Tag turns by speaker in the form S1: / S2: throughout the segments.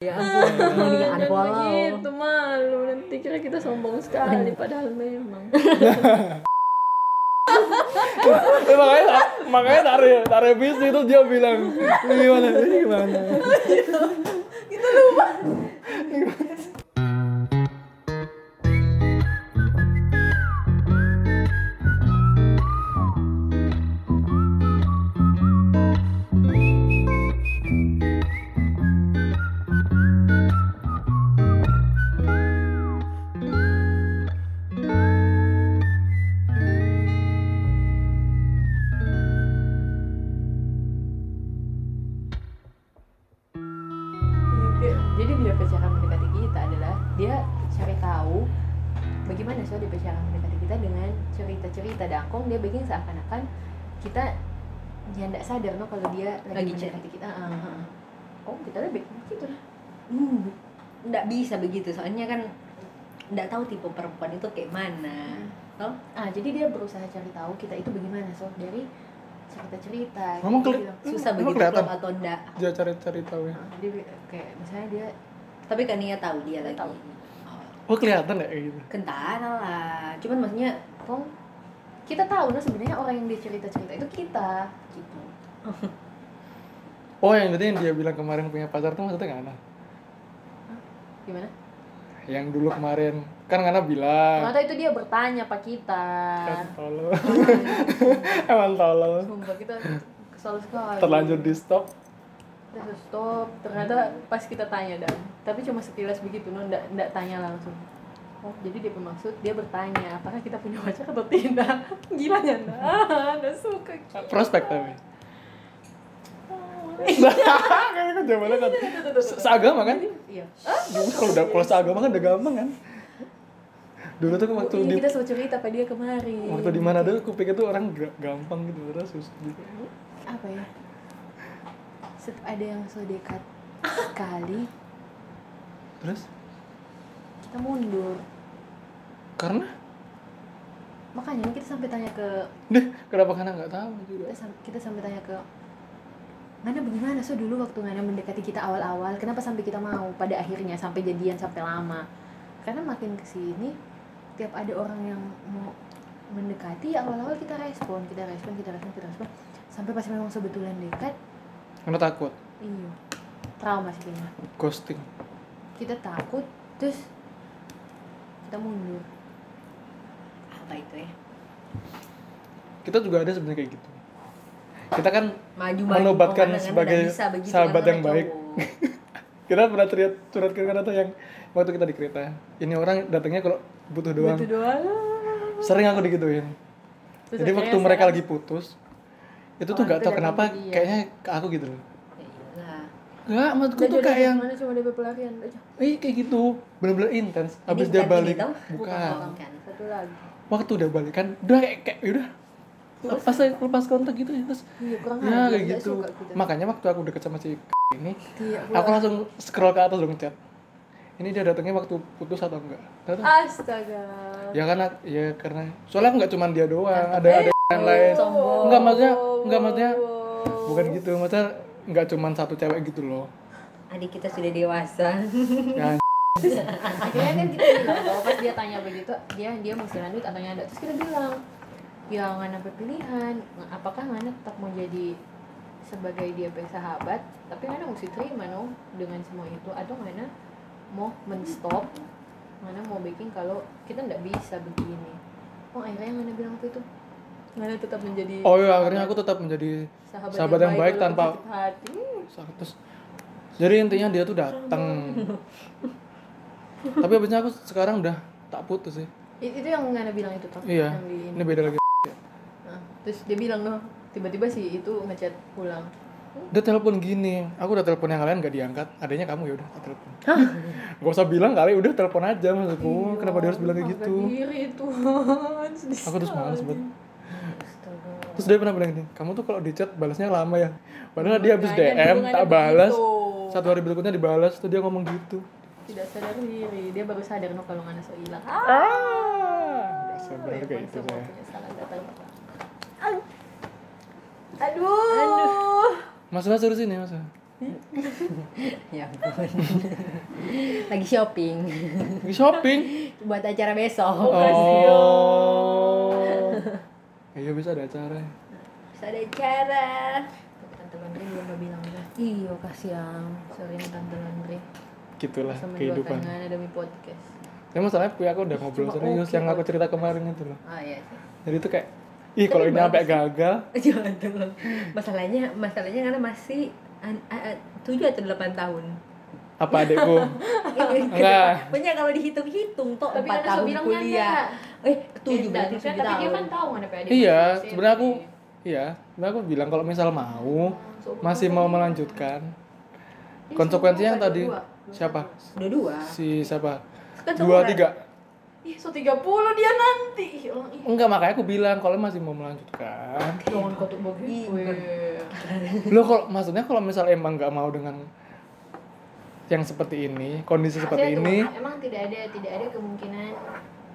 S1: Ya ampun, mendingan
S2: Jangan
S1: unfollow.
S2: begitu malu nanti kira kita sombong sekali padahal memang
S3: Eh, makanya makanya tarik tarik bis itu dia bilang "Ini gimana ini gimana
S4: Iya. Jadi bila pacaran mendekati kita adalah dia cari tahu bagaimana soal dia pacaran mendekati kita dengan cerita-cerita dangkong dia bikin seakan-akan kita ya nggak sadar no kalau dia lagi,
S1: Lagi cari.
S4: mendekati kita. Ah, ah, ah. Oh kita lebih gitu lah.
S1: Hmm, nggak bisa begitu soalnya kan nggak tahu tipe perempuan itu kayak mana
S4: Ah jadi dia berusaha cari tahu kita itu bagaimana soal dari cerita-cerita.
S3: Ngomong
S4: Dia
S3: keli-
S4: bilang,
S1: susah
S3: Hmm, Emang
S1: begitu
S3: kelihatan?
S1: klop atau enggak
S3: dia cari cari tahu ya
S4: ah, dia bi- kayak misalnya dia
S1: tapi kan Nia tahu dia lagi
S4: Tahu.
S3: oh kelihatan ya kayak gitu
S1: kentara lah cuman maksudnya
S4: kok kita tahu no sebenarnya orang yang dia cerita-cerita itu kita gitu.
S3: oh yang berarti yang dia bilang kemarin punya pacar tuh maksudnya Ngana
S4: Gimana?
S3: yang dulu kemarin kan Ngana bilang
S4: Ternyata itu dia bertanya pak kita.
S3: kan tolol emang tolol
S4: Sumpah kita kesal sekali.
S3: terlanjur di stop
S4: Terus stop. Ternyata pas kita tanya dan tapi cuma sekilas begitu, no, ndak ndak tanya langsung. Oh, jadi dia bermaksud dia bertanya apakah kita punya pacar atau tidak. Gila ya, nah, ndak suka. kita.
S3: prospek tapi kan jawabannya kan se- seagama kan
S4: Iya.
S3: Dulu kalau udah kalau seagama kan udah gampang kan dulu tuh kan waktu
S4: Iya,
S3: di
S4: kita sempat cerita pada dia kemarin.
S3: waktu di mana dulu aku pikir tuh orang ga- gampang gitu terus susah gitu
S4: apa ya? Set ada yang so dekat sekali
S3: terus
S4: kita mundur.
S3: karena
S4: Makanya kita sampai tanya ke
S3: deh kenapa karena nggak tahu juga
S4: kita, sam- kita sampai tanya ke Ngana bagaimana so dulu waktu Ngana mendekati kita awal-awal kenapa sampai kita mau pada akhirnya sampai jadian sampai lama karena makin kesini tiap ada orang yang mau mendekati ya awal-awal kita respon kita respon kita respon kita respon sampai pas memang sebetulnya dekat
S3: karena takut
S4: iya trauma sih kayaknya
S3: ghosting
S4: kita takut terus kita mundur
S1: apa itu ya
S3: kita juga ada sebenarnya kayak gitu kita kan
S1: maju
S3: Menobatkan
S1: pemandangan
S3: sebagai
S1: nggak bisa begitu
S3: sahabat
S1: karena
S3: yang baik.
S1: cowok.
S3: kita pernah curhat curhat ke kata yang waktu kita di kereta ini orang datangnya kalau butuh doang
S4: itu doang
S3: sering aku digituin
S4: Terus
S3: jadi
S4: akhirnya
S3: waktu mereka
S4: sekarang-
S3: lagi putus itu tuh
S4: Orang
S3: nggak tahu
S4: itu datang
S3: kenapa
S4: ke dia.
S3: kayaknya ke aku gitu loh
S1: Ya iyalah.
S3: nggak maksudku
S4: Udah
S3: tuh
S4: jodoh
S3: kayak yang
S4: mana cuma DP pelarian aja
S3: Ih kayak gitu, bener-bener intens.
S1: Ini
S3: Abis dia
S1: bukan ini
S3: balik,
S1: tau?
S3: bukan.
S1: Bukan, bukan.
S4: satu lagi
S3: Waktu udah balik kan, udah kayak, kayak udah lepas aja, lepas kontak gitu ya terus.
S4: iya kurang
S3: Ya
S4: ajar,
S3: kayak
S4: nggak
S3: gitu.
S4: suka kita.
S3: Makanya waktu aku deket sama si ini,
S4: Iya,
S3: aku langsung scroll ke atas dong chat. Ini dia datangnya waktu putus atau enggak?
S4: Ah.
S3: Datang.
S4: Astaga.
S3: Ya karena ya karena soalnya nggak cuma dia doang, ada ada yang lain.
S1: Sombong.
S3: Enggak maksudnya, enggak maksudnya bukan gitu, maksudnya nggak cuma satu cewek gitu loh.
S1: Adik kita sudah dewasa.
S3: Ya,
S4: Akhirnya kan kita bilang bahwa pas dia tanya begitu, dia dia mesti lanjut atau nyadar. Terus kita bilang, ya nggak ada pilihan. Apakah Ngana tetap mau jadi sebagai dia baik sahabat, tapi Ngana mesti terima no dengan semua itu atau Ngana mau menstop, Ngana mau bikin kalau kita nggak bisa begini. Oh akhirnya Ngana bilang apa itu? Ngana tetap menjadi
S3: oh iya akhirnya aku tetap menjadi sahabat yang baik
S4: walaupun
S3: tanpa-
S4: sakit hati.
S3: Terus jadi intinya dia tuh datang. Tapi abisnya aku sekarang udah tak putus sih.
S4: I- itu yang Ngana bilang itu toh
S3: Iya.
S4: yang di
S3: Ini
S4: ini.
S3: beda lagi.
S4: Nah, terus dia bilang noh tiba-tiba sih itu ngechat pulang
S3: Dia telepon gini, aku udah telepon yang lain gak diangkat, adanya kamu ya udah aku telepon. Gak usah bilang kali, udah telepon aja
S4: Iya,
S3: maksudku. Kenapa dia harus bilang kayak
S4: Harga
S3: gitu?
S4: diri Tuhan sedih
S3: Aku terus males banget.
S1: Astaga.
S3: Terus dia pernah bilang gini, kamu tuh kalau di chat balasnya lama ya. Padahal dia habis
S4: Makanya
S3: DM
S4: hubungannya
S3: tak balas.
S4: begitu.
S3: Satu hari berikutnya dibalas, tuh dia ngomong gitu.
S4: tidak sadar diri dia baru sadar noh kalau Ngana so hilang ah
S3: Ah, gak sabar
S4: memang
S3: kayak gitu
S4: semua
S3: saya.
S4: penyesalan datang
S2: aduh
S3: Mas Mas terus ini mas. Mas.
S1: ya ampun. lagi shopping
S3: Lagi shopping.
S1: buat acara besok
S3: Oh. Iya bisa ada acara.
S1: Terus ada acara
S4: Tante Landri belum gak bilang udah.
S1: iya kasihan
S4: Sorry nih Tante Landri.
S3: Gitulah
S4: Sama dua
S3: kehidupan.
S4: tangan demi podcast.
S3: Ya masalahnya Pi, aku udah ngobrol
S1: Cuma
S3: serius
S1: oke
S3: yang aku
S1: kok.
S3: cerita kemarin itu loh.
S1: Oh,
S4: Ah iya sih.
S3: Jadi itu kayak ih kalau ini sampai gagal,
S1: jangan dong masalahnya masalahnya karena masih an- a- a- tujuh atau delapan tahun
S3: apa adekku?
S1: Iya.
S3: Enggak.
S1: Banyak kalau dihitung-hitung toh
S4: Tapi
S1: empat
S4: kan aku
S1: tahun
S4: bilang
S1: kuliah. Eh, tujuh berarti
S4: Eh, tapi kan-
S1: tujuh
S4: Tapi dia
S1: tahun.
S4: kan tahu kan apa dia.
S3: iya, sebenarnya aku iya, sebenarnya aku bilang kalau misal
S1: Oh,
S3: mau masih mau melanjutkan konsekuensinya yang tadi siapa?
S1: Udah dua.
S3: Si siapa?
S1: Kan
S3: Dua
S1: seumuran.
S3: tiga.
S4: Ih, so 30 dia nanti. Ih, orang ih.
S3: Enggak makanya aku bilang kalau masih mau melanjutkan.
S4: Jangan kau tuh
S1: Ih,
S4: begitu.
S1: bukan.
S4: ya.
S3: Loh kalau maksudnya kalau misal emang nggak mau dengan yang seperti ini, kondisi seperti
S4: Maksudnya
S3: ini,
S4: tuh, emang tidak ada tidak ada kemungkinan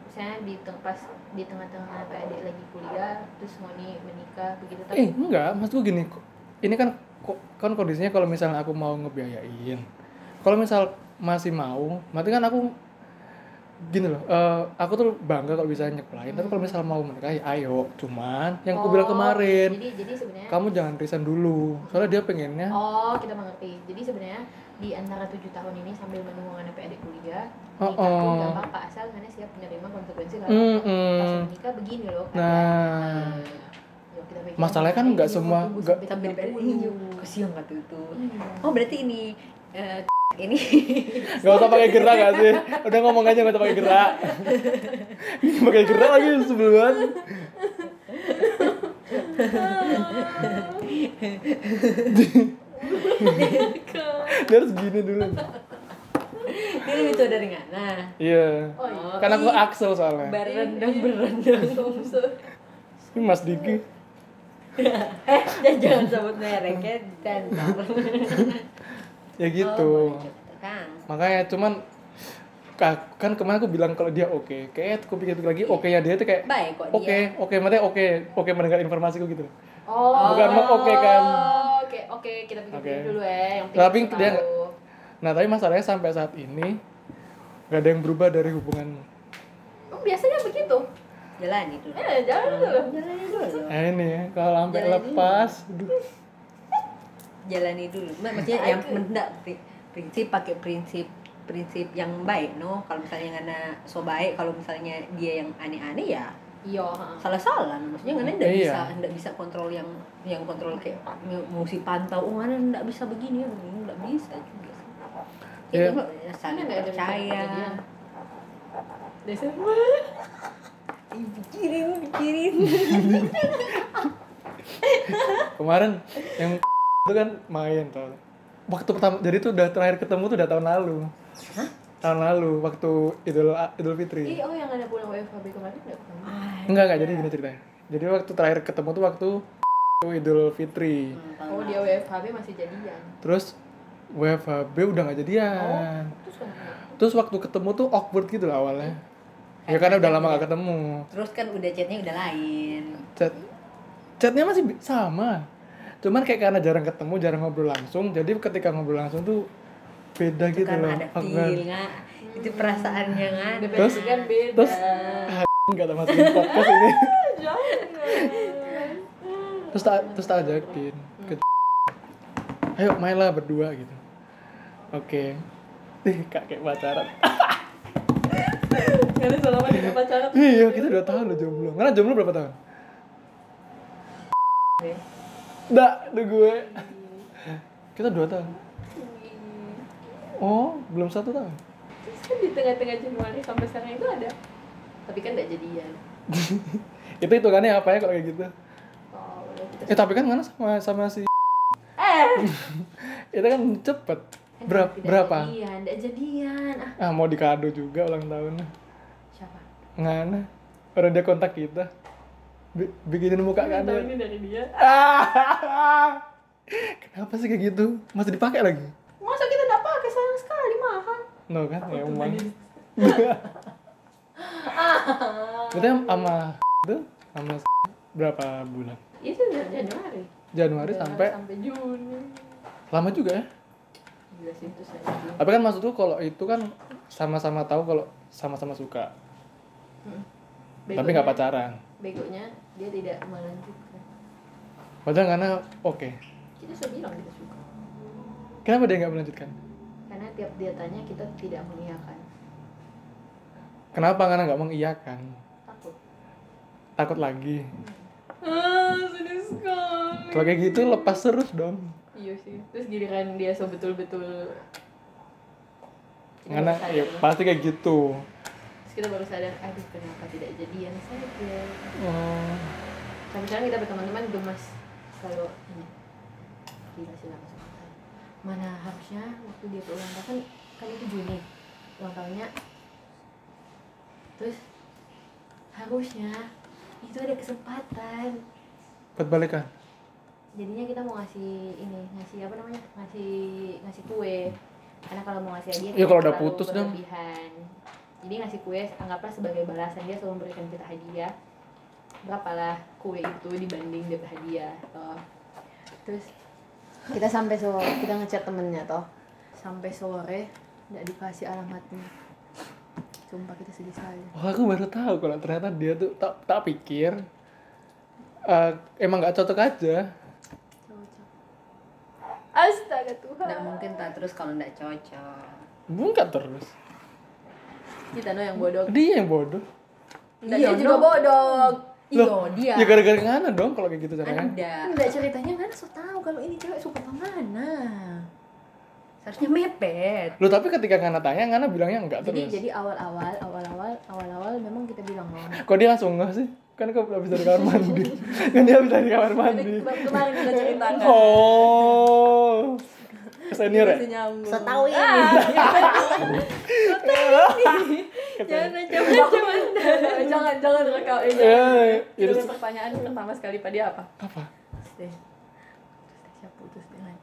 S4: misalnya di teng- pas di tengah-tengah apa adik lagi kuliah terus Ngoni menikah begitu
S3: eh
S4: tapi
S3: enggak, maksud gue gini, ko- ini kan ko- kan kondisinya kalau misalnya aku mau ngebiayain, kalau misal masih mau, berarti kan aku gini loh, eh, aku tuh bangga kalau bisa nyeplain, tapi kalau misal mau menikah ya ayo, cuman yang aku bilang
S4: Oh,
S3: kemarin,
S4: jadi jadi sebenarnya
S3: kamu jangan resign dulu, soalnya dia pengennya
S4: oh kita mengerti jadi sebenarnya di antara tujuh tahun ini sambil menunggu anak adik kuliah
S3: Oh,
S4: nikah pun
S3: oh.
S4: nggak apa-apa asal Ngoni siap menerima konsekuensi kalau
S3: Mm-mm.
S4: pas menikah begini loh keadaan.
S3: Nah,
S4: iya. Yuk, kita pikir.
S3: Masalahnya kan nggak
S4: Yuk,
S3: semua-
S4: tunggu
S3: nggak-
S4: sampai
S1: Sambil
S4: tiga puluh.
S1: iya, kesian nggak tuh itu.
S4: Iya.
S1: Oh, berarti ini eh, ini
S3: Gak usah pakai gerak gak sih? Udah ngomong aja gak usah pakai gerak Ini pakai gerak lagi sebelumnya Dia harus gini dulu
S1: ini lebih tua dari Ngana.
S3: Iya
S4: oh iya
S3: Karena aku Axel soalnya
S1: Berendang berendang.
S3: Ini Mas Diki
S1: eh, jangan- jangan sebut merek ya dan
S3: Ya gitu
S1: Oh, Kang.
S3: Makanya cuman ka- kan kemarin aku bilang kalau dia oke kayak aku pikir-pikir lagi oke nya dia tuh kayak
S1: Baik kok
S3: oke
S1: dia.
S3: oke maksudnya oke oke mendengar informasiku gitu
S4: Oh.
S3: Bukan mengokekan.
S4: Oke, oke, kita pikir
S3: Oke.
S4: dulu ya. Yang
S3: Tapi
S4: penting
S3: dia
S4: tahu.
S3: Nah tapi masalahnya sampai saat ini nggak ada yang berubah dari hubungan
S4: Oh, biasanya begitu.
S1: Jalani dulu.
S4: Eh, jangan dulu.
S1: Jalani dulu.
S3: eh, ini ya kalau sampai
S1: Jalan ini.
S3: lepas, aduh,
S1: jalani dulu Ma- maksudnya yang mendak pri- prinsip pakai prinsip prinsip yang baik no kalau misalnya ngana so baik kalau misalnya dia yang aneh-aneh ya
S4: Iya, heeh.
S1: salah salah maksudnya ngana ndak
S3: Iya.
S1: bisa ndak bisa kontrol yang yang kontrol kayak mu- musik pantau oh ngana ndak bisa begini ya begini ndak bisa juga sih.
S3: Iya.
S1: Kayak gitu, ya, saling
S4: nggak ada
S1: percaya
S4: kejadian. Desa-
S1: Ih, pikirin pikirin
S3: kemarin yang itu kan main tuh. Waktu pertama, jadi tuh udah terakhir ketemu tuh udah tahun lalu. Tahun lalu waktu Idul Idul Fitri.
S2: Iya.
S4: Ih, oh yang ada pulang WFHB kemarin enggak pulang.
S3: Enggak enggak jadi gini ceritanya. Jadi waktu terakhir ketemu tuh waktu Idul Fitri.
S2: Hmm.
S4: Oh, dia WFHB masih jadian.
S3: Terus WFHB udah nggak jadian.
S2: Oh.
S4: Terus kan
S3: Terus waktu ketemu tuh awkward gitu lah awalnya. Ya karena udah lama gak ketemu.
S1: terus kan udah chatnya udah lain
S3: chat chatnya masih bi- sama cuman kayak karena jarang ketemu jarang ngobrol langsung jadi ketika ngobrol langsung tuh beda
S1: itu
S3: gitu
S1: kan
S3: loh
S1: ada
S3: Aku
S1: feel nggak itu perasaannya kan
S4: Terus kan beda.
S3: terus nggak ada masukin podcast ini terus tak terus tak ajakin ke
S1: Hmm.
S3: ayo mainlah berdua gitu oke ih kak kayak pacaran
S4: Kalian selama dengan pacaran.
S3: iya kita dua tahun loh jomblo karena jomblo berapa tahun dah lu gue kita dua tahun oh belum satu tahun
S4: Terus kan di tengah-tengah Januari sampai sekarang itu ada. Tapi kan enggak jadian.
S3: itu itu kan ya apa ya kalau kayak gitu
S4: Oh, udah kita
S3: eh tapi kan mana sama sama si itu kan cepet Eh, Berap,
S4: Eh, Tidak
S3: berapa
S4: Jadian, tidak jadian. Ah,
S3: ah mau dikado juga ulang tahunnya
S4: siapa?
S3: ngana orang dia kontak kita Bi- bikinin muka kan
S4: Tahu
S3: dia
S4: ini dari dia.
S3: Ah! kenapa sih kayak gitu masih dipakai lagi
S4: Masa kita tidak pakai sayang sekali mahal.
S3: no kan ya emang berarti sama itu sama berapa bulan
S4: Itu Iya, dari Januari.
S3: Januari
S4: Januari
S3: sampai
S4: Juni.
S3: lama juga ya
S4: gila sih itu saya belum
S3: tapi kan maksudku kalau itu kan sama-sama tahu kalau sama-sama suka tapi nggak
S4: Begonya-
S3: pacaran
S4: begonya dia tidak melanjutkan
S3: padahal karena oke
S4: kita sudah bilang kita suka
S3: kenapa dia nggak melanjutkan
S4: karena tiap dia tanya kita tidak mengiyakan
S3: kenapa karena nggak mengiyakan
S4: takut
S3: takut lagi
S4: ah sedih sekali
S3: kalau kayak gitu lepas terus dong
S4: iya sih terus giliran dia so betul-betul
S1: Iya,
S3: karena
S4: Tidak
S3: ya,
S4: sadar.
S3: pasti kayak gitu
S4: terus kita baru sadar aduh kenapa tidak jadian saja
S3: Oh,
S4: sampai sekarang kita berteman-teman gemas kalau ini gila sih nggak masuk akal. mana harusnya waktu dia berulang tahun kan, kan itu Juni ulang tahunnya terus harusnya itu ada kesempatan
S3: buat balikan
S4: jadinya kita mau ngasih ini ngasih apa namanya ngasih ngasih kue karena kalau mau ngasih hadiah
S3: Iya,
S4: kita
S3: kalau udah
S4: terlalu
S3: putus dong.
S4: berlebihan. jadi ngasih kue anggaplah sebagai balasan dia selalu memberikan kita hadiah berapalah kue itu dibanding dapat hadiah toh terus kita sampai sore kita ngechat temennya toh sampai sore nggak dikasih alamatnya sumpah kita sedih sekali
S3: Wah, aku baru tahu kalau ternyata dia tuh tak tak pikir eh, emang nggak cocok aja.
S4: Cocok. astaga Tuhan
S1: Nggak mungkin tak terus kalau nggak cocok.
S3: Bungkat terus.
S4: kita no yang bodoh
S3: Dia yang bodoh.
S4: Nggak,
S1: Iya,
S4: dia juga
S1: no.
S4: bodoh
S1: Iya dia.
S3: Ya gara-gara ngana dong kalau kayak gitu caranya.
S1: Anda
S4: Enggak ceritanya kan so tahu kalau ini cewek suka kemana.
S1: seharusnya mepet.
S3: Loh, tapi ketika ngana tanya, ngana bilangnya enggak
S4: Jadi
S3: terus.
S4: jadi awal-awal awal-awal awal-awal memang kita bilang mau.
S3: Kok dia langsung ngeh sih? Kan kau habis dari kamar mandi. kan dia habis dari kamar mandi.
S4: Kemarin kita cerita
S3: Oh. Senior ya?
S1: nyambung.
S4: Setahu ini.
S1: Ah,
S4: iya,
S3: Katanya.
S4: jangan jangan jangan jangan rekam ini.
S3: Eh, itu
S4: Itu pertanyaan pertama sekali pada dia apa?
S3: apa?
S4: Terus deh. Terus dia putus dengan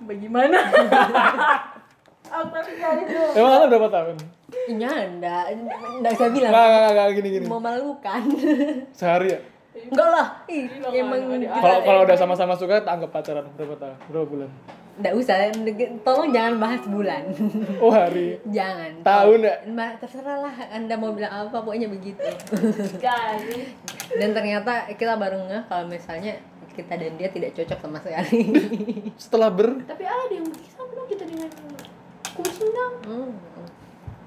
S4: Bagaimana? Apa itu?
S3: Emang ngana berapa tahun?
S1: Iya anda, nggak bisa
S3: Enggak,
S1: bilang.
S3: enggak, enggak, gini-gini.
S1: Memalukan.
S3: Sehari ya?
S1: Enggak lah. Ih,
S4: Bilang
S1: emang
S4: sama dia.
S1: eh,
S3: Kalau kalau udah sama-sama suka, tak anggap pacaran berapa tahun? Berapa bulan?
S1: nggak usah. Tolong jangan bahas bulan.
S3: Oh hari.
S1: jangan.
S3: Tahun ya?
S1: Mbak terserah lah Anda mau bilang apa pokoknya begitu.
S4: Sekali.
S1: Dan ternyata kita baru ngeh kalau misalnya kita dan dia tidak cocok sama sekali.
S3: Setelah ber
S4: Tapi ada yang sama dong kita dengan kucing dong.
S1: Hmm.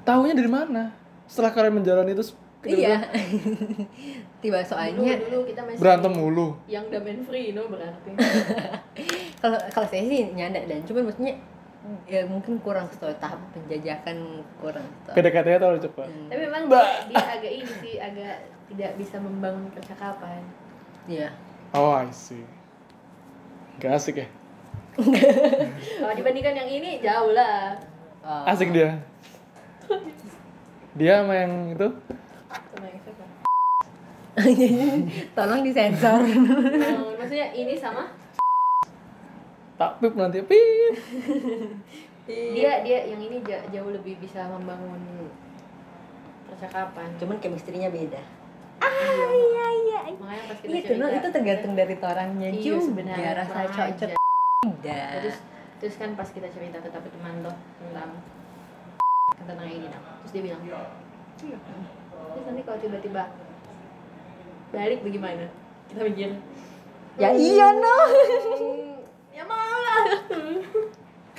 S3: tahunya dari mana? Setelah kalian menjalani itu
S1: Iya. Tiba soalnya
S4: dulu, dulu kita masih
S3: berantem mulu.
S4: yang domain free no berarti
S1: kalau kalau saya sih nyanda dan cuman maksudnya ya mungkin kurang setelah tahap penjajakan kurang setelah. Hmm.
S3: PDKT-nya terlalu cepat.
S4: tapi memang dia, dia agak ini sih agak tidak bisa membangun percakapan
S1: Iya.
S3: Oh, I see. Gak asik ya?
S4: kalau dibandingkan yang ini jauh lah
S1: Eh,
S3: Asik dia. Dia sama yang itu
S4: sama yang siapa
S1: Tolong disensor.
S4: Yang- Nah, maksudnya ini sama
S3: tak pip nanti pip.
S4: dia dia yang ini ja- jauh lebih bisa membangun percakapan
S1: cuman chemistry-nya beda.
S4: iya
S1: Iya iya.
S4: makanya pas kita
S1: Itu no,
S4: cerita,
S1: itu tergantung dari orangnya
S4: Iya,
S1: juga.
S4: sebenarnya
S1: rasa
S4: sama
S1: cocok
S4: aja.
S1: tidak.
S4: terus terus kan pas kita cerita ke tapi teman tuh tentang tentang ini nah. terus dia bilang iya terus nanti kalau tiba-tiba balik bagaimana kita mikir
S1: Ya iya no.
S4: "Hmm, ya mau lah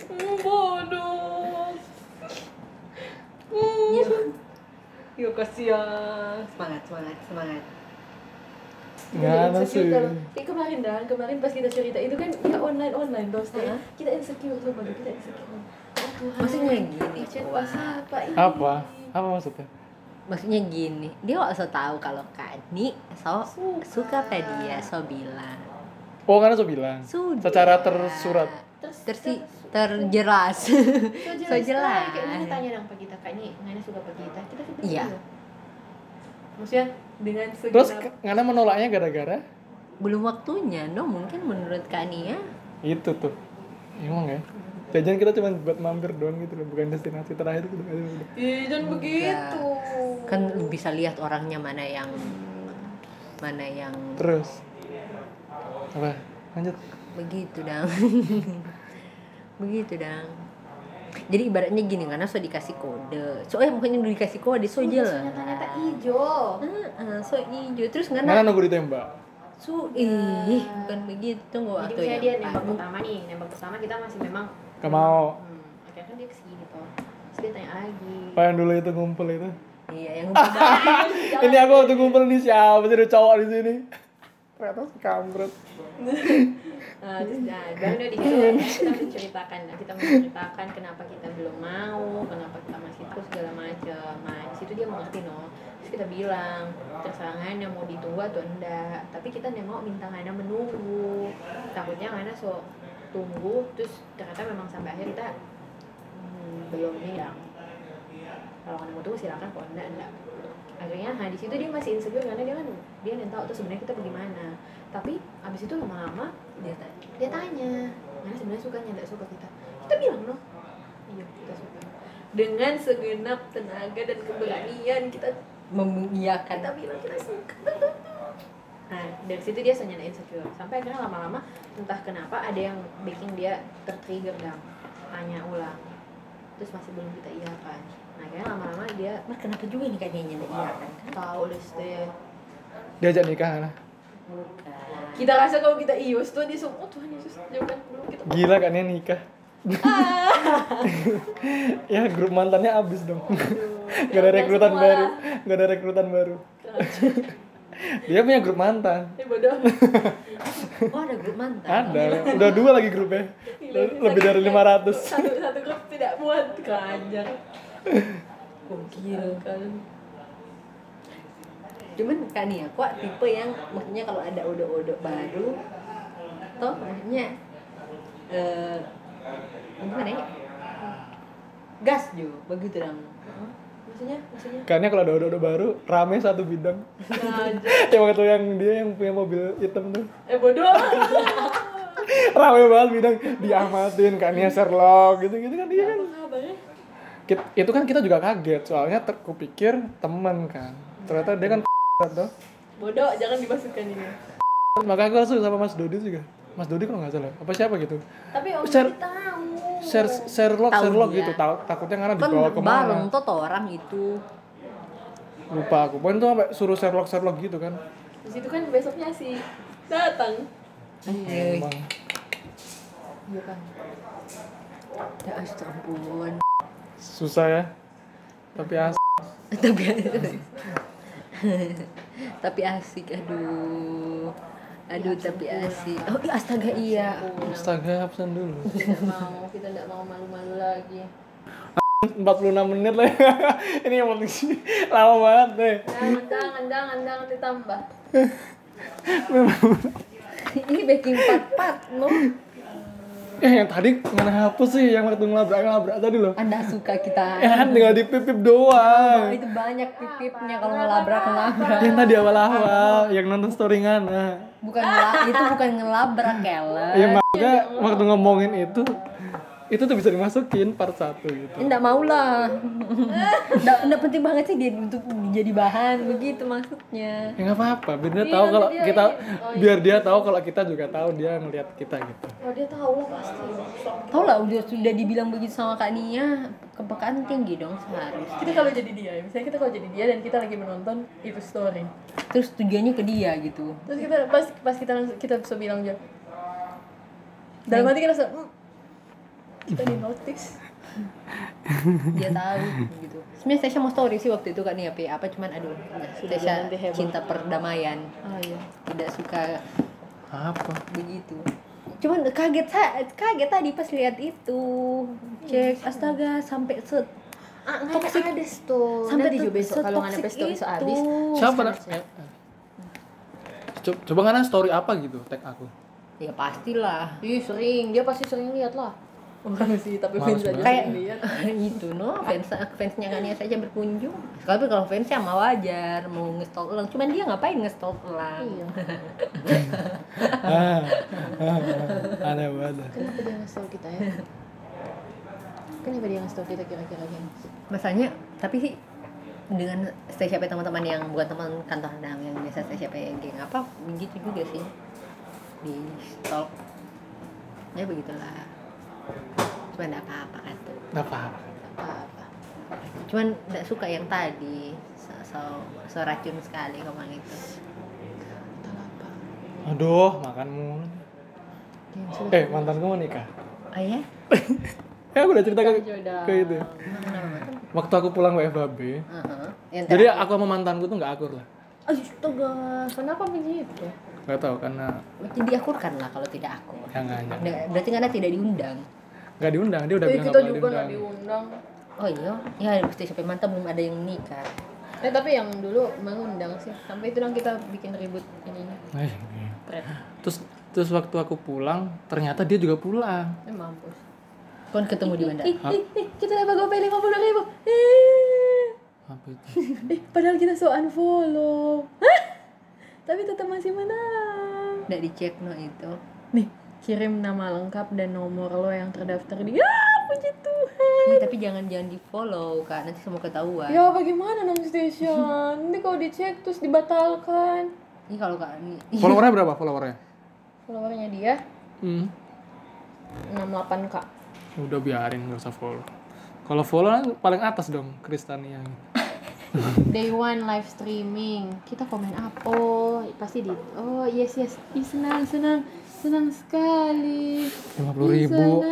S4: Hmm, bodoh Hmm. ya kasihan
S1: Semangat semangat semangat.
S3: Gimana sih?
S4: insecure kalau- Kayak kemarin dah, kemarin pas kita cerita itu kan ya online online dong, Shay. Kita insecure sama kita insecure. Oh, Tuhan.
S1: Maksudnya gini,
S4: Chat
S1: Wak.
S4: WhatsApp apa ini?
S3: Apa? Apa maksudnya?
S1: Maksudnya gini, dia nggak so tahu kalau Kak Ni so
S4: Suka.
S1: suka tadi dia so bilang.
S3: Oh, karena saya bilang.
S1: Sudah.
S3: Secara tersurat.
S4: Terus
S1: tersi terjelas so jelas
S4: Kayak Nana tanya dong ke kita, Kak Nyi, Nana suka ke kita. Kita suka
S1: Iya.
S4: juga. Maksudnya dengan segenap
S3: Terus ke- Ngana menolaknya gara-gara
S1: belum waktunya no mungkin menurut ya, Kania
S3: itu tuh. Emang ya? Jajan kita cuma buat mampir doang gitu loh, bukan destinasi terakhir gitu.
S4: Ih, jangan begitu.
S1: kan lu bisa lihat orangnya mana yang mana yang
S3: Terus apa? Lanjut.
S1: begitu dong begitu dang jadi ibaratnya gini karena so dikasih kode so eh bukannya dulu dikasih kode so jelas
S2: Ternyata hijau.
S1: Heeh, so ijo terus
S3: Mana
S1: karena
S3: nunggu ditembak?
S1: so ih bukan begitu ya. gua atau
S2: Jadi misalnya
S1: yang
S2: dia nembak
S1: paling-
S2: pertama nih, nembak pertama kita masih memang
S3: Gak mau.
S2: Hmm, akhirnya kan dia kesini toh. Terus dia tanya lagi.
S3: Apa yang dulu itu ngumpul itu?
S1: iya yang udah
S3: Ini aku waktu ngumpul nih siapa sih ada cowok di sini? Ternyata si kampret.
S2: Eh, terus nah, baru udah di situ akhirnya kita menceritakan, nah, kita menceritakan kenapa kita belum mau, kenapa kita masih takut segala macam. Nah, di situ dia mengerti no. Terus kita bilang, tersangan yang mau ditunggu atau enggak. Tapi kita nggak mau minta Hana menunggu. Takutnya Hana so tunggu, terus ternyata memang sampai akhir kita hmm, belum nih Dang. Kalau Hana mau tunggu silakan, kalau enggak enggak. Akhirnya, nah di situ dia masih insecure karena dia kan dia yang tahu tuh sebenarnya kita bagaimana. Tapi abis itu lama-lama
S1: dia tanya,
S2: dia tanya mana sebenarnya sukanya tidak suka kita kita bilang loh iya kita suka dengan segenap tenaga dan keberanian kita
S1: mengiyakan
S2: kita bilang kita suka nah dari situ dia senyana insecure sampai akhirnya lama-lama entah kenapa ada yang bikin dia tertrigger dan tanya ulang terus masih belum kita iyakan nah akhirnya lama-lama dia
S1: Mas kenapa juga nih kayaknya nggak iyakan kan
S2: tahu ya. deh Ste.
S3: Diajak nikah lah.
S2: kita rasa kalau kita ius tuh dia semua oh, Tuhan Yesus jangan belum kita
S3: Gila kan ya nikah. ya grup mantannya abis dong.
S2: Iya,
S3: Gak ada rekrutan baru. Gak ada rekrutan baru. Dia punya grup mantan.
S2: Eh bodoh.
S1: oh ada grup mantan
S3: Ada. Udah dua lagi grupnya. Le- Lebih dari 500.
S2: satu satu grup tidak muat keranjang
S1: gokil
S2: kan
S1: cuman kan ya kok tipe yang maksudnya kalau ada odok-odok baru toh maksudnya eh gimana ya gas jo begitu dong
S2: maksudnya maksudnya
S3: Karena kalau ada odot baru, rame satu bidang. Kayak waktu yang dia yang punya mobil hitam tuh.
S2: eh bodoh
S3: Rame banget bidang diamatin kan ya Sherlock gitu-gitu kan dia kan.
S2: kabarnya
S3: Kit- itu kan kita juga kaget soalnya ter kupikir teman kan. Ternyata dia kan tuh.
S2: bodoh jangan dimasukkan ini
S3: Makanya gue langsung sama Mas Dodi juga. Mas Dodi kalau nggak salah, apa siapa gitu?
S2: tapi om
S3: Share-
S2: Dodi tahu
S3: Share Sherlock,
S1: Tahu
S3: Sherlock
S1: dia.
S3: gitu. Tahu takutnya karena
S1: kan
S3: dibawa kemana?
S1: bareng toh orang itu
S3: Lupa aku. Pokoknya tuh sampai suruh Sherlock, Sherlock gitu kan.
S2: di situ kan besoknya si datang
S1: Anjay.
S3: Emang.
S2: iya kan
S1: ya ampun
S3: Susah ya. Tapi as
S1: tapi tapi asik aduh aduh tapi asik oh iya, astaga iya
S3: Astaga, absen dulu.
S2: tidak mau kita tidak mau malu-malu lagi
S3: 46 menit lah. ya. Ini yang penting sih. Lama banget deh.
S2: jangan jangan jangan jangan ditambah
S1: ini baking part part no
S3: Eh, yang tadi mana hapus sih yang waktu ngelabrak-ngelabrak tadi loh.
S1: anda suka kita
S3: Eh, kan tinggal dipipip
S1: Oh,
S3: doang.
S1: itu banyak pipipnya kalau ngelabrak ngelabrak
S3: Yang tadi awal-awal, yang nonton story Ngana.
S1: bukan ngela- itu bukan ngelabrak keles
S3: Ya maksudnya waktu ngomongin itu itu tuh bisa dimasukin part 1 gitu.
S1: enggak mau lah enggak enggak penting banget sih dia untuk jadi bahan begitu maksudnya
S3: Ya nggak apa-apa, biar dia Oh, iya. tahu kalau kita biar dia tahu kalau kita juga tahu dia ngelihat kita gitu.
S2: oh dia tahu lah pasti
S1: tau lah udah sudah dibilang begitu sama kak Nia kepekaan tinggi dong seharusnya
S4: Kita kalau jadi dia, misalnya kita kalau jadi dia dan kita lagi menonton itu story.
S1: terus tujuannya ke dia gitu
S4: Terus kita pas pas kita langsung kita bisa bilang aja. Dalam hati kita langsung "Hmm, kita di notice.
S1: dia tahu gitu sebenarnya Tasya mau story sih waktu itu kan ya Pi. apa cuman aduh sudah
S4: nanti heboh.
S1: cinta perdamaian
S4: Oh iya.
S1: tidak suka
S3: Apa?
S1: begitu cuman kaget sa- kaget tadi pas lihat itu
S2: Iya.
S1: cek astaga sampai set
S2: ah nggak ada tuh
S1: sampai
S2: Oh, nanti
S1: tuh
S2: juga besok kalau nggak ada
S1: setoksik
S2: pesta besok habis
S1: itu.
S3: Oh, Siapa? Nak? Ya. Co- Coba Ngana story apa gitu tag aku.
S1: ya pastilah
S2: Ih sering, dia pasti sering lihat lah.
S4: Orang sih, tapi
S2: Iya,
S3: Males
S4: fans aja
S3: banget.
S1: kayak
S4: sering lihat.
S1: itu no fans fansnya kan Nia saja berkunjung tapi kalau fansnya mah wajar mau ngestol ulang cuman dia ngapain ngestol ulang
S2: Iya.
S3: Ah, ah, ah, aneh banget.
S2: Kenapa dia ngasih tau kita ya? Kenapa dia ngasih tau kita kira-kira gini?
S1: masanya tapi sih dengan stay siapa teman-teman yang bukan teman kantor dam yang biasa stay siapa yang geng apa begitu juga sih di stalk ya begitulah cuma nggak apa-apa kan tuh
S3: nggak paham
S1: nggak apa-apa cuman nggak suka yang tadi so, so, so racun sekali ngomong itu
S3: aduh makan mulu eh mantanku mau nikah
S1: oh ya
S3: eh aku udah cerita ke,
S4: Jodoh.
S3: ke itu waktu aku pulang WFHB
S1: Heeh. Uh-huh. Yang
S3: jadi aku sama mantanku tuh nggak akur lah
S1: Astaga,
S4: Kenapa begitu?
S3: nggak tahu karena
S1: jadi akurkan lah kalau tidak akur.
S3: yang nggak
S1: Nggak- Berarti karena tidak diundang.
S3: nggak diundang dia kan. udah
S2: Tapi
S3: bilang
S2: kita
S3: nggak
S2: juga
S3: boleh
S2: nggak
S3: diundang
S2: diundang.
S1: Oh iya, ya pasti sampai mantap belum ada yang nikah.
S4: Eh tapi yang dulu mengundang sih. Sampai itu dong kita bikin ribut ininya.
S3: Eh, iya.
S4: Pret.
S3: terus terus waktu aku pulang ternyata dia juga pulang
S4: Eh mampus.
S1: Kon ketemu di bandara.
S2: Ih, ih, ih, kita dapat gopay lima puluh ribu.
S3: apa itu
S2: Eh, padahal kita so unfollow. Tapi tetap masih menang.
S1: Nggak dicek no itu.
S2: Nih, kirim nama lengkap dan nomor lo yang terdaftar di. Ah, puji Tuhan.
S1: Ih, tapi jangan jangan di follow kak, nanti semua ketahuan.
S2: Ya bagaimana nom station? Nanti kalau dicek terus dibatalkan.
S1: Ini kalau kak ini
S3: followernya berapa followernya
S2: Followernya dia
S3: hmm.
S2: 68 k.
S3: udah biarin nggak usah follow kalau follow kan paling atas dong Kristania
S4: Day one live streaming. Kita komen apa? Oh, pasti di Oh, yes yes. Ih, senang senang. Senang sekali.
S3: lima puluh ribu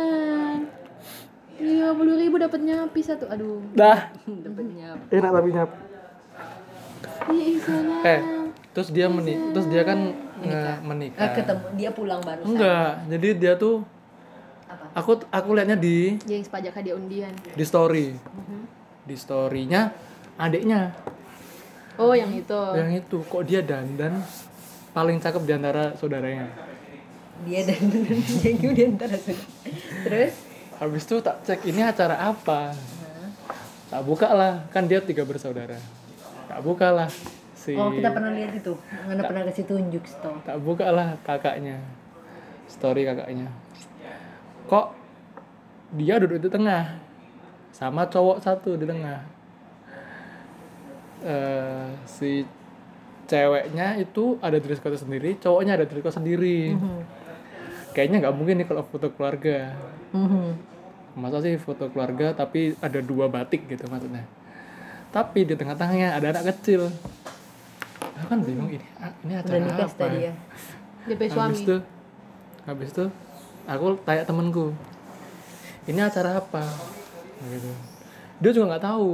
S4: Lima puluh Iya, ribu dapat nyapi satu. Aduh.
S3: dah
S1: dapatnya
S3: enak tapi nyap
S4: Ih, ih, senang.
S3: eh terus dia meni terus dia kan nge- menikah
S1: Eh, ketemu dia pulang baru.
S3: enggak jadi dia tuh
S1: Apa?
S3: aku aku liatnya di
S4: Jadi pajak hadiah undian.
S3: di story
S1: Mhm.
S3: di storynya adiknya
S4: Oh, yang itu.
S3: yang itu kok dia dandan paling cakep di antara saudaranya
S1: Dia dan dan Jenggu dia ntar langsung. Terus?
S3: habis itu tak cek ini acara apa
S1: Mhm.
S3: tak buka lah kan dia tiga bersaudara tak buka lah
S4: Iya.
S3: si
S1: Oh kita pernah lihat itu, nggak pernah kasih tunjuk stop.
S3: tak buka lah kakaknya story kakaknya kok dia duduk di tengah sama cowok satu di tengah eh si ceweknya itu ada dress code sendiri cowoknya ada dress code sendiri
S1: Mm-hmm.
S3: kayaknya nggak mungkin nih kalau foto keluarga
S1: Mm-hmm.
S3: masa sih foto keluarga tapi ada dua batik gitu maksudnya tapi di tengah-tengahnya ada anak kecil aku kan bingung ini ini
S1: Udah
S3: acara
S1: nikah
S3: apa
S1: tadi ya.
S4: DP
S3: habis
S4: suami.
S3: itu habis itu aku tanya temenku ini acara apa gitu dia juga nggak tahu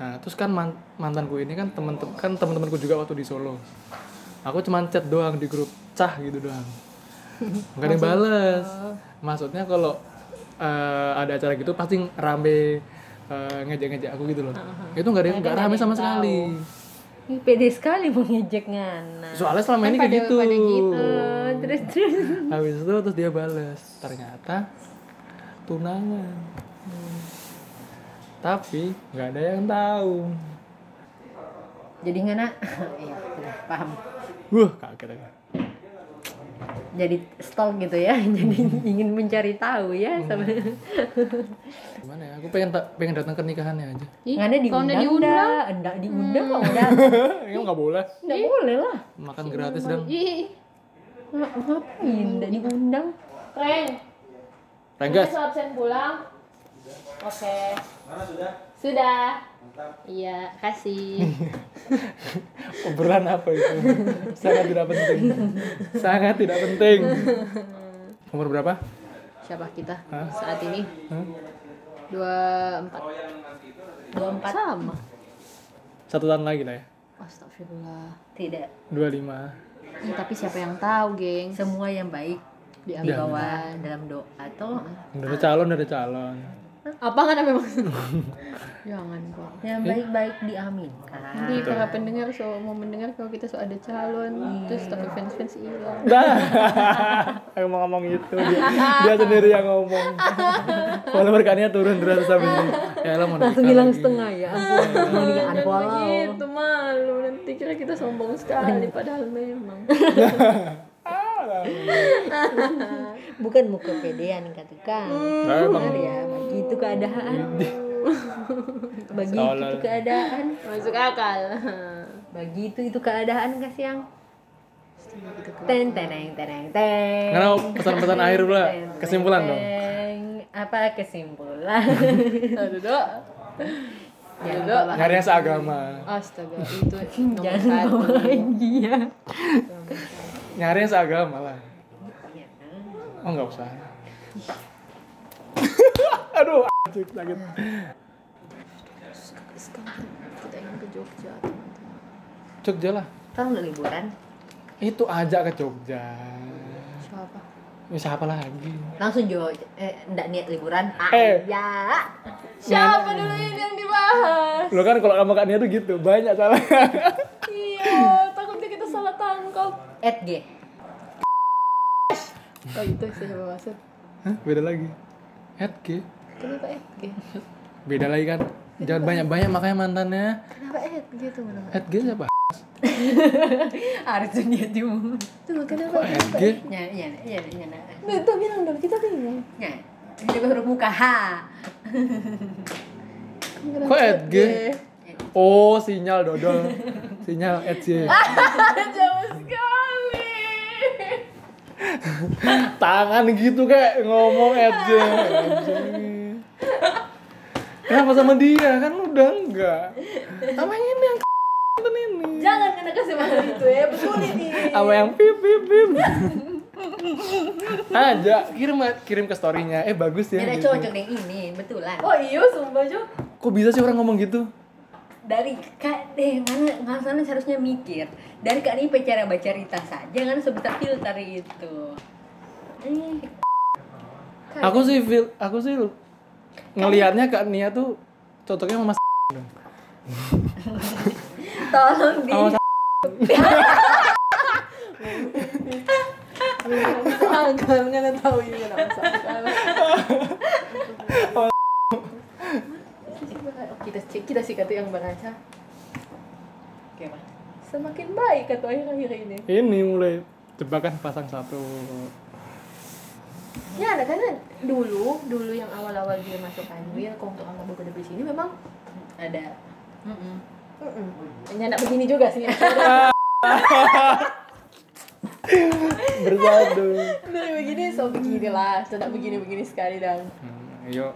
S3: nah terus kan man- mantanku ini kan temen tem- kan teman-temanku juga waktu di Solo aku cuma chat doang di grup cah gitu doang nggak ada yang bales maksudnya kalau eh, ada acara gitu pasti rame eh, ngejek-ngejek aku gitu loh itu nggak ada yang nggak rame sama sekali
S1: Ih, pede sekali mau ngejek ngana.
S3: soalnya selama ini kayak gitu
S1: Eh, terus terus.
S3: habis itu terus dia bales ternyata tunangan tapi nggak ada yang tahu
S1: Jadi ngana, iya sudah paham.
S3: wah kaget aku
S1: Jadi stalk gitu ya, jadi ingin mencari tahu ya
S4: Hmm.
S1: sama.
S3: gimana ya aku pengen ta- pengen datang ke nikahannya aja
S4: Ih,
S1: Ngana
S4: kalau
S1: diundang,
S4: nggak diundang, Hmm.
S1: enggak, enggak diundang kok enggak,
S3: ya nggak boleh
S1: enggak boleh lah.
S3: makan gratis dong
S4: Ih,
S1: Nga- Ngapain enggak diundang?
S4: Frank,
S3: renggas
S4: besok absen pulang. Oke. sudah? Sudah. Iya, kasih.
S3: obrolan apa itu sangat tidak penting sangat tidak penting umur berapa
S4: Siapa kita
S3: Hah?
S4: saat ini?
S3: Hah?
S4: Dua empat.
S1: Dua empat
S4: Sama.
S3: satu tahun lagi lah ya
S4: Astagfirullah.
S1: tidak.
S3: dua lima
S4: Ih, tapi siapa yang tahu, geng?
S1: Semua yang baik Ya.
S3: Iya.
S4: Diambil.
S1: dibawa dalam doa atau
S3: dari calon dari calon
S4: Apa kan memang? Jangan, Pak.
S1: yang
S3: Iya.
S1: baik-baik diaminkan.
S4: Nanti para pendengar so mau mendengar kalau kita so ada calon, terus tapi fans-fans hilang.
S3: Dah. Aku mau ngomong itu dia, dia sendiri yang ngomong. Follower kannya turun terus sampai ini. Ya lo mau nikah
S1: Langsung hilang
S3: lagi.
S1: setengah ya. Ampun, mau nikah unfollow.
S2: Begitu gitu, malu nanti kira kita sombong sekali padahal memang.
S1: Bukan muka pedean kata kan.
S3: Nah, emang
S1: Benar ya, bagi itu keadaan. bagi itu
S3: Iya. Seolah-olah.
S1: keadaan.
S4: Masuk akal.
S1: Bagi itu itu keadaan kah siang? Ten teneng teneng teng.
S3: Kenapa pesan-pesan akhir pula?
S1: Teng, teng,
S3: Kesimpulan dong.
S1: teng. apa kesimpulan
S2: Aduh, dok.
S1: Jangan
S2: Dok.
S1: bawa-
S3: nyari yang seagama
S4: Astaga, itu nomor
S1: jangan
S4: satu.
S1: bawa lagi ya
S3: nyari yang seagama lah
S1: Iya.
S3: oh nggak usah aduh anjing sakit
S4: Sekarang kita ingin ke Jogja, teman-teman.
S3: Jogja lah
S1: kan udah liburan
S3: itu ajak ke Jogja
S4: Siapa?
S3: Ya, siapa lagi
S1: langsung jo eh enggak niat liburan ah
S3: Eh.
S1: ya
S2: Siapa dulu ini yang dibahas?
S3: lo kan kalau sama Kak Nia tuh gitu banyak salah
S2: Iya, takutnya kita salah tangkap.
S1: at G
S2: Oh, itu siapa maksud?
S3: Hah? beda lagi Ed G.
S2: Kenapa Ed gitu?
S3: beda lagi kan jangan banyak banyak makanya mantannya
S2: Kenapa Ed gitu kenapa?
S3: Ed G siapa
S1: harusnya niat dulu
S2: Tuh, kenapa?
S3: kok Ed G
S1: ya ya ya ya
S2: Duh, tuh bilang dong, kita bingung.
S1: ya ini baru muka H
S2: Kenapa
S3: Kok Ed G?
S2: Ed
S3: oh sinyal dodol sinyal Ed G
S2: G? Jauh sekali.
S3: tangan gitu kayak ngomong Ed G kenapa sama dia kan udah enggak sama ini yang mantan ini
S2: Jangan kena kasih makan itu ya, betul ini.
S3: sama yang pip pip pip aja kirim kirim ke storynya eh bagus ya
S1: tidak
S3: gitu.
S1: cocok deh ini betulan
S2: Oh iya, sumpah Jo.
S3: kok bisa sih orang ngomong gitu
S1: dari kak deh mana nggak sana seharusnya mikir dari kak ini cara baca cerita saja kan sebentar filter itu eh,
S3: aku sih feel, aku sih ngelihatnya kak Nia tuh cocoknya sama Mas
S1: tolong di
S3: sama Mas
S2: Angkat nggak tahu ini kenapa salah. Kita cek, kita sikat yang beraca.
S1: Oke, Pak.
S2: Semakin baik atau akhir-akhir ini.
S3: ini mulai jebakan pasang satu
S2: Ya, ada karena dulu, dulu yang awal-awal dia masuk Anwil, kok untuk anak buku di sini memang
S1: ada Mm-mm.
S2: Mm-mm. Ini anak begini juga sih.
S3: bersatu
S2: Dari begini, so begini lah. So, tak begini-begini sekali dong.
S3: Hmm, yuk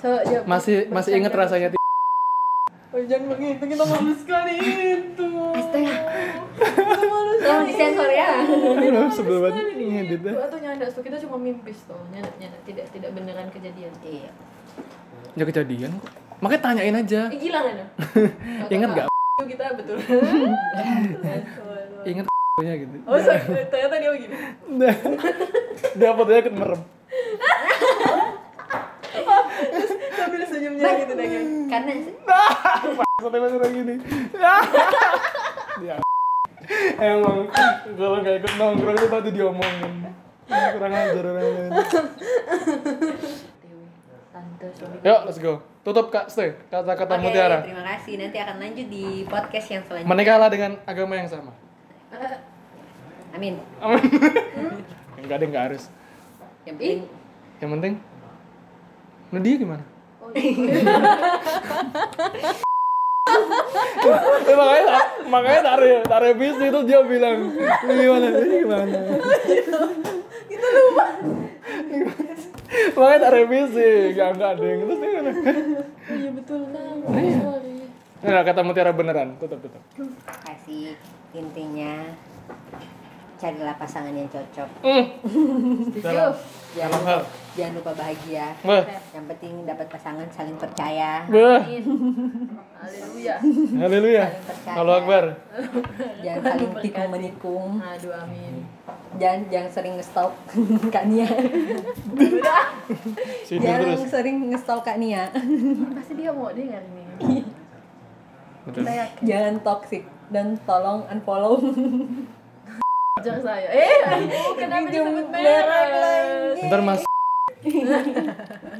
S2: So, dia
S3: masih masih inget
S2: bercanda.
S3: rasanya ti-
S2: Oh, jangan begitu, kita malu sekali itu.
S1: Astaga.
S2: Kita malu
S1: tolong
S2: sekali.
S1: disensor ya
S3: Aduh, sebel banget
S2: Sekali nih.
S3: ngedit dah.
S2: Iya, Tuh, Atau nyanda, so kita cuma mimpis tuh. Nyanda, nyanda. Tidak, tidak beneran kejadian.
S1: iya
S3: ya kejadian kok makanya tanyain aja
S2: Eh, gila nggak? Nyanda?
S3: inget gak
S2: Itu Kita betul. Iya.
S3: inget nya gitu
S2: Oh, so, ternyata dia begini.
S3: Nah, dia fotonya ikut merem
S2: Sambil senyumnya gitu, dah, guys.
S1: karena
S3: sampai masih orang gini dia emang kalau nggak ikut nongkrong itu tadi diomongin kurang ajar orang lain
S4: Dewi, tante suami.
S3: yuk let's go tutup kak stay
S1: Oke,
S3: kata-kata mutiara
S1: terima kasih. Nanti akan lanjut di podcast yang selanjutnya.
S3: menikahlah dengan agama yang sama
S1: Amin.
S3: enggak deh nggak harus
S1: Yang penting
S3: yang penting Nah dia gimana? Eh, makanya tar- makanya tarik tarik bis itu dia bilang "Lu gimana Dia gimana
S2: Kita lupa.
S3: makanya tarik bis gak nggak ding terus dia gimana
S2: Oh, iya betul, Nang. Sorry.
S3: nah kata mutiara beneran tutup tutup
S1: kasih intinya carilah pasangan yang cocok.
S3: Hmm.
S2: Setuju.
S1: Jangan
S3: Dalam
S1: lupa,
S3: hal.
S1: jangan lupa bahagia.
S3: Wah.
S1: Yang penting dapat pasangan saling percaya.
S3: Wah.
S2: Haleluya.
S3: Haleluya. Allahu Akbar.
S1: Jangan saling tikung menikung.
S2: Aduh, amin.
S1: Jangan jangan sering nge-stalk Kak Nia.
S3: Sini
S1: jangan
S3: terus.
S1: sering nge-stalk Kak Nia.
S2: Pasti dia mau dengar nih.
S3: Betul.
S1: jangan toxic dan tolong unfollow.
S2: Ajak saya. Eh, kenapa disebut merek lagi?
S3: Ntar Mas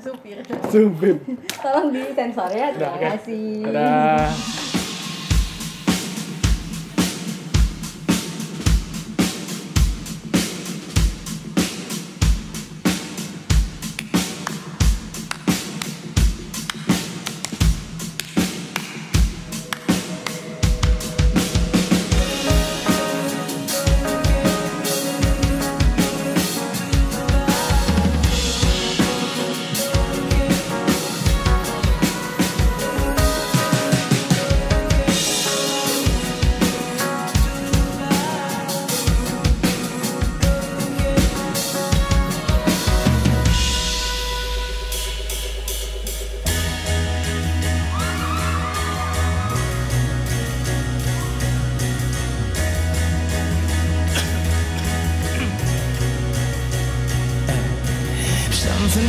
S2: Supir.
S3: Subin.
S1: Tolong di sensor ya. Terima
S3: oke.
S1: kasih.
S3: Dadah.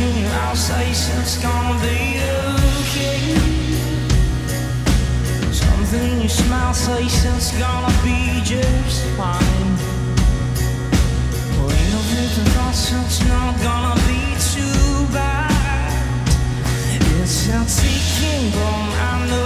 S5: Alsatian's gonna be okay. Something you smell says it's gonna be just fine. Rain of little it's not gonna be too bad. It's a ticking bomb, I know